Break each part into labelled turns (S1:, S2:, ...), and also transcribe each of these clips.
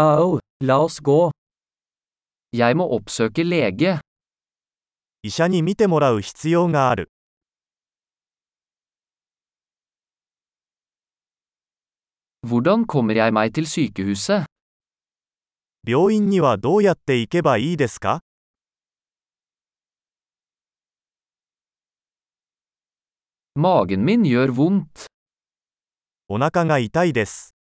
S1: Au, la oss gå. Jeg må oppsøke lege.
S2: 医者に診てもらう必要がある
S1: Hvordan kommer jeg meg til sykehuset?
S2: 病院にはどうやって行けばいいですか
S1: Magen min gjør vondt.
S2: お腹が痛いです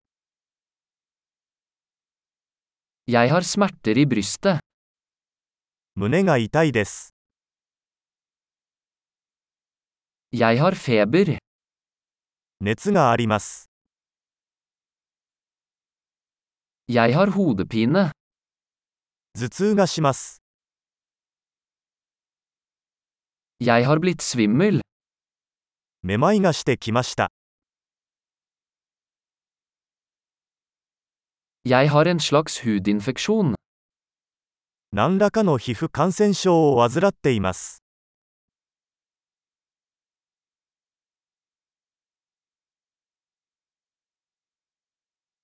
S1: Jeg har smerter i brystet.
S2: 胸が痛いです
S1: Jeg har feber.
S2: 熱があります
S1: Jeg har hodepine.
S2: 頭痛がします
S1: Jeg har blitt svimmel.
S2: めまいがしてきました
S1: Jeg har en slags hudinfeksjon.
S2: 何らかの皮膚感染症を患っています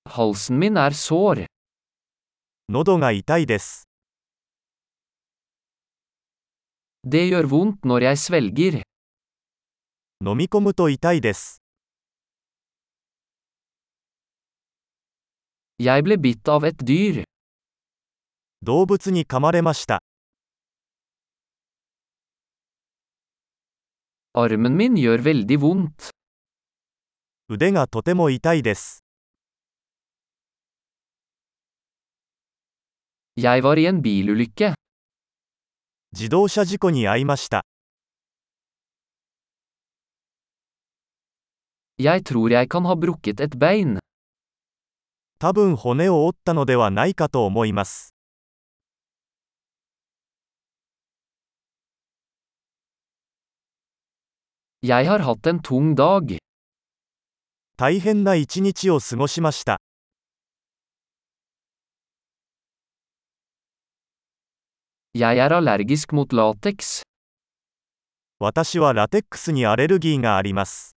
S1: Halsen min er sår.
S2: 喉が痛いです
S1: Det gjør vondt når jeg svelger.
S2: 飲み込むと痛いです
S1: Jeg ble bitt av et dyr.
S2: 動物に噛まれました
S1: Armen min gjør veldig vondt.
S2: 腕がとても痛いです
S1: Jeg var i en bilulykke.
S2: 自動車事故に遭いました
S1: Jeg tror jeg kan ha brukket et bein.
S2: 多分骨を折ったのではないかと思います
S1: Jeg har hatt en tung dag.
S2: 大変な一日を過ごしました
S1: Jeg er allergisk mot lateks.
S2: 私はラテックスにアレルギーがあります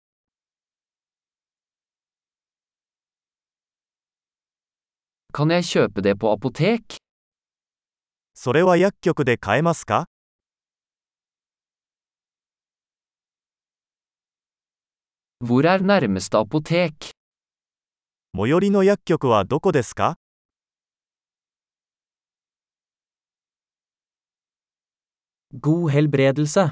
S1: Kan jeg kjøpe det på apotek?
S2: それは薬局で買えますか
S1: Hvor er nærmeste apotek?
S2: 最寄りの薬局はどこですか
S1: God helbredelse.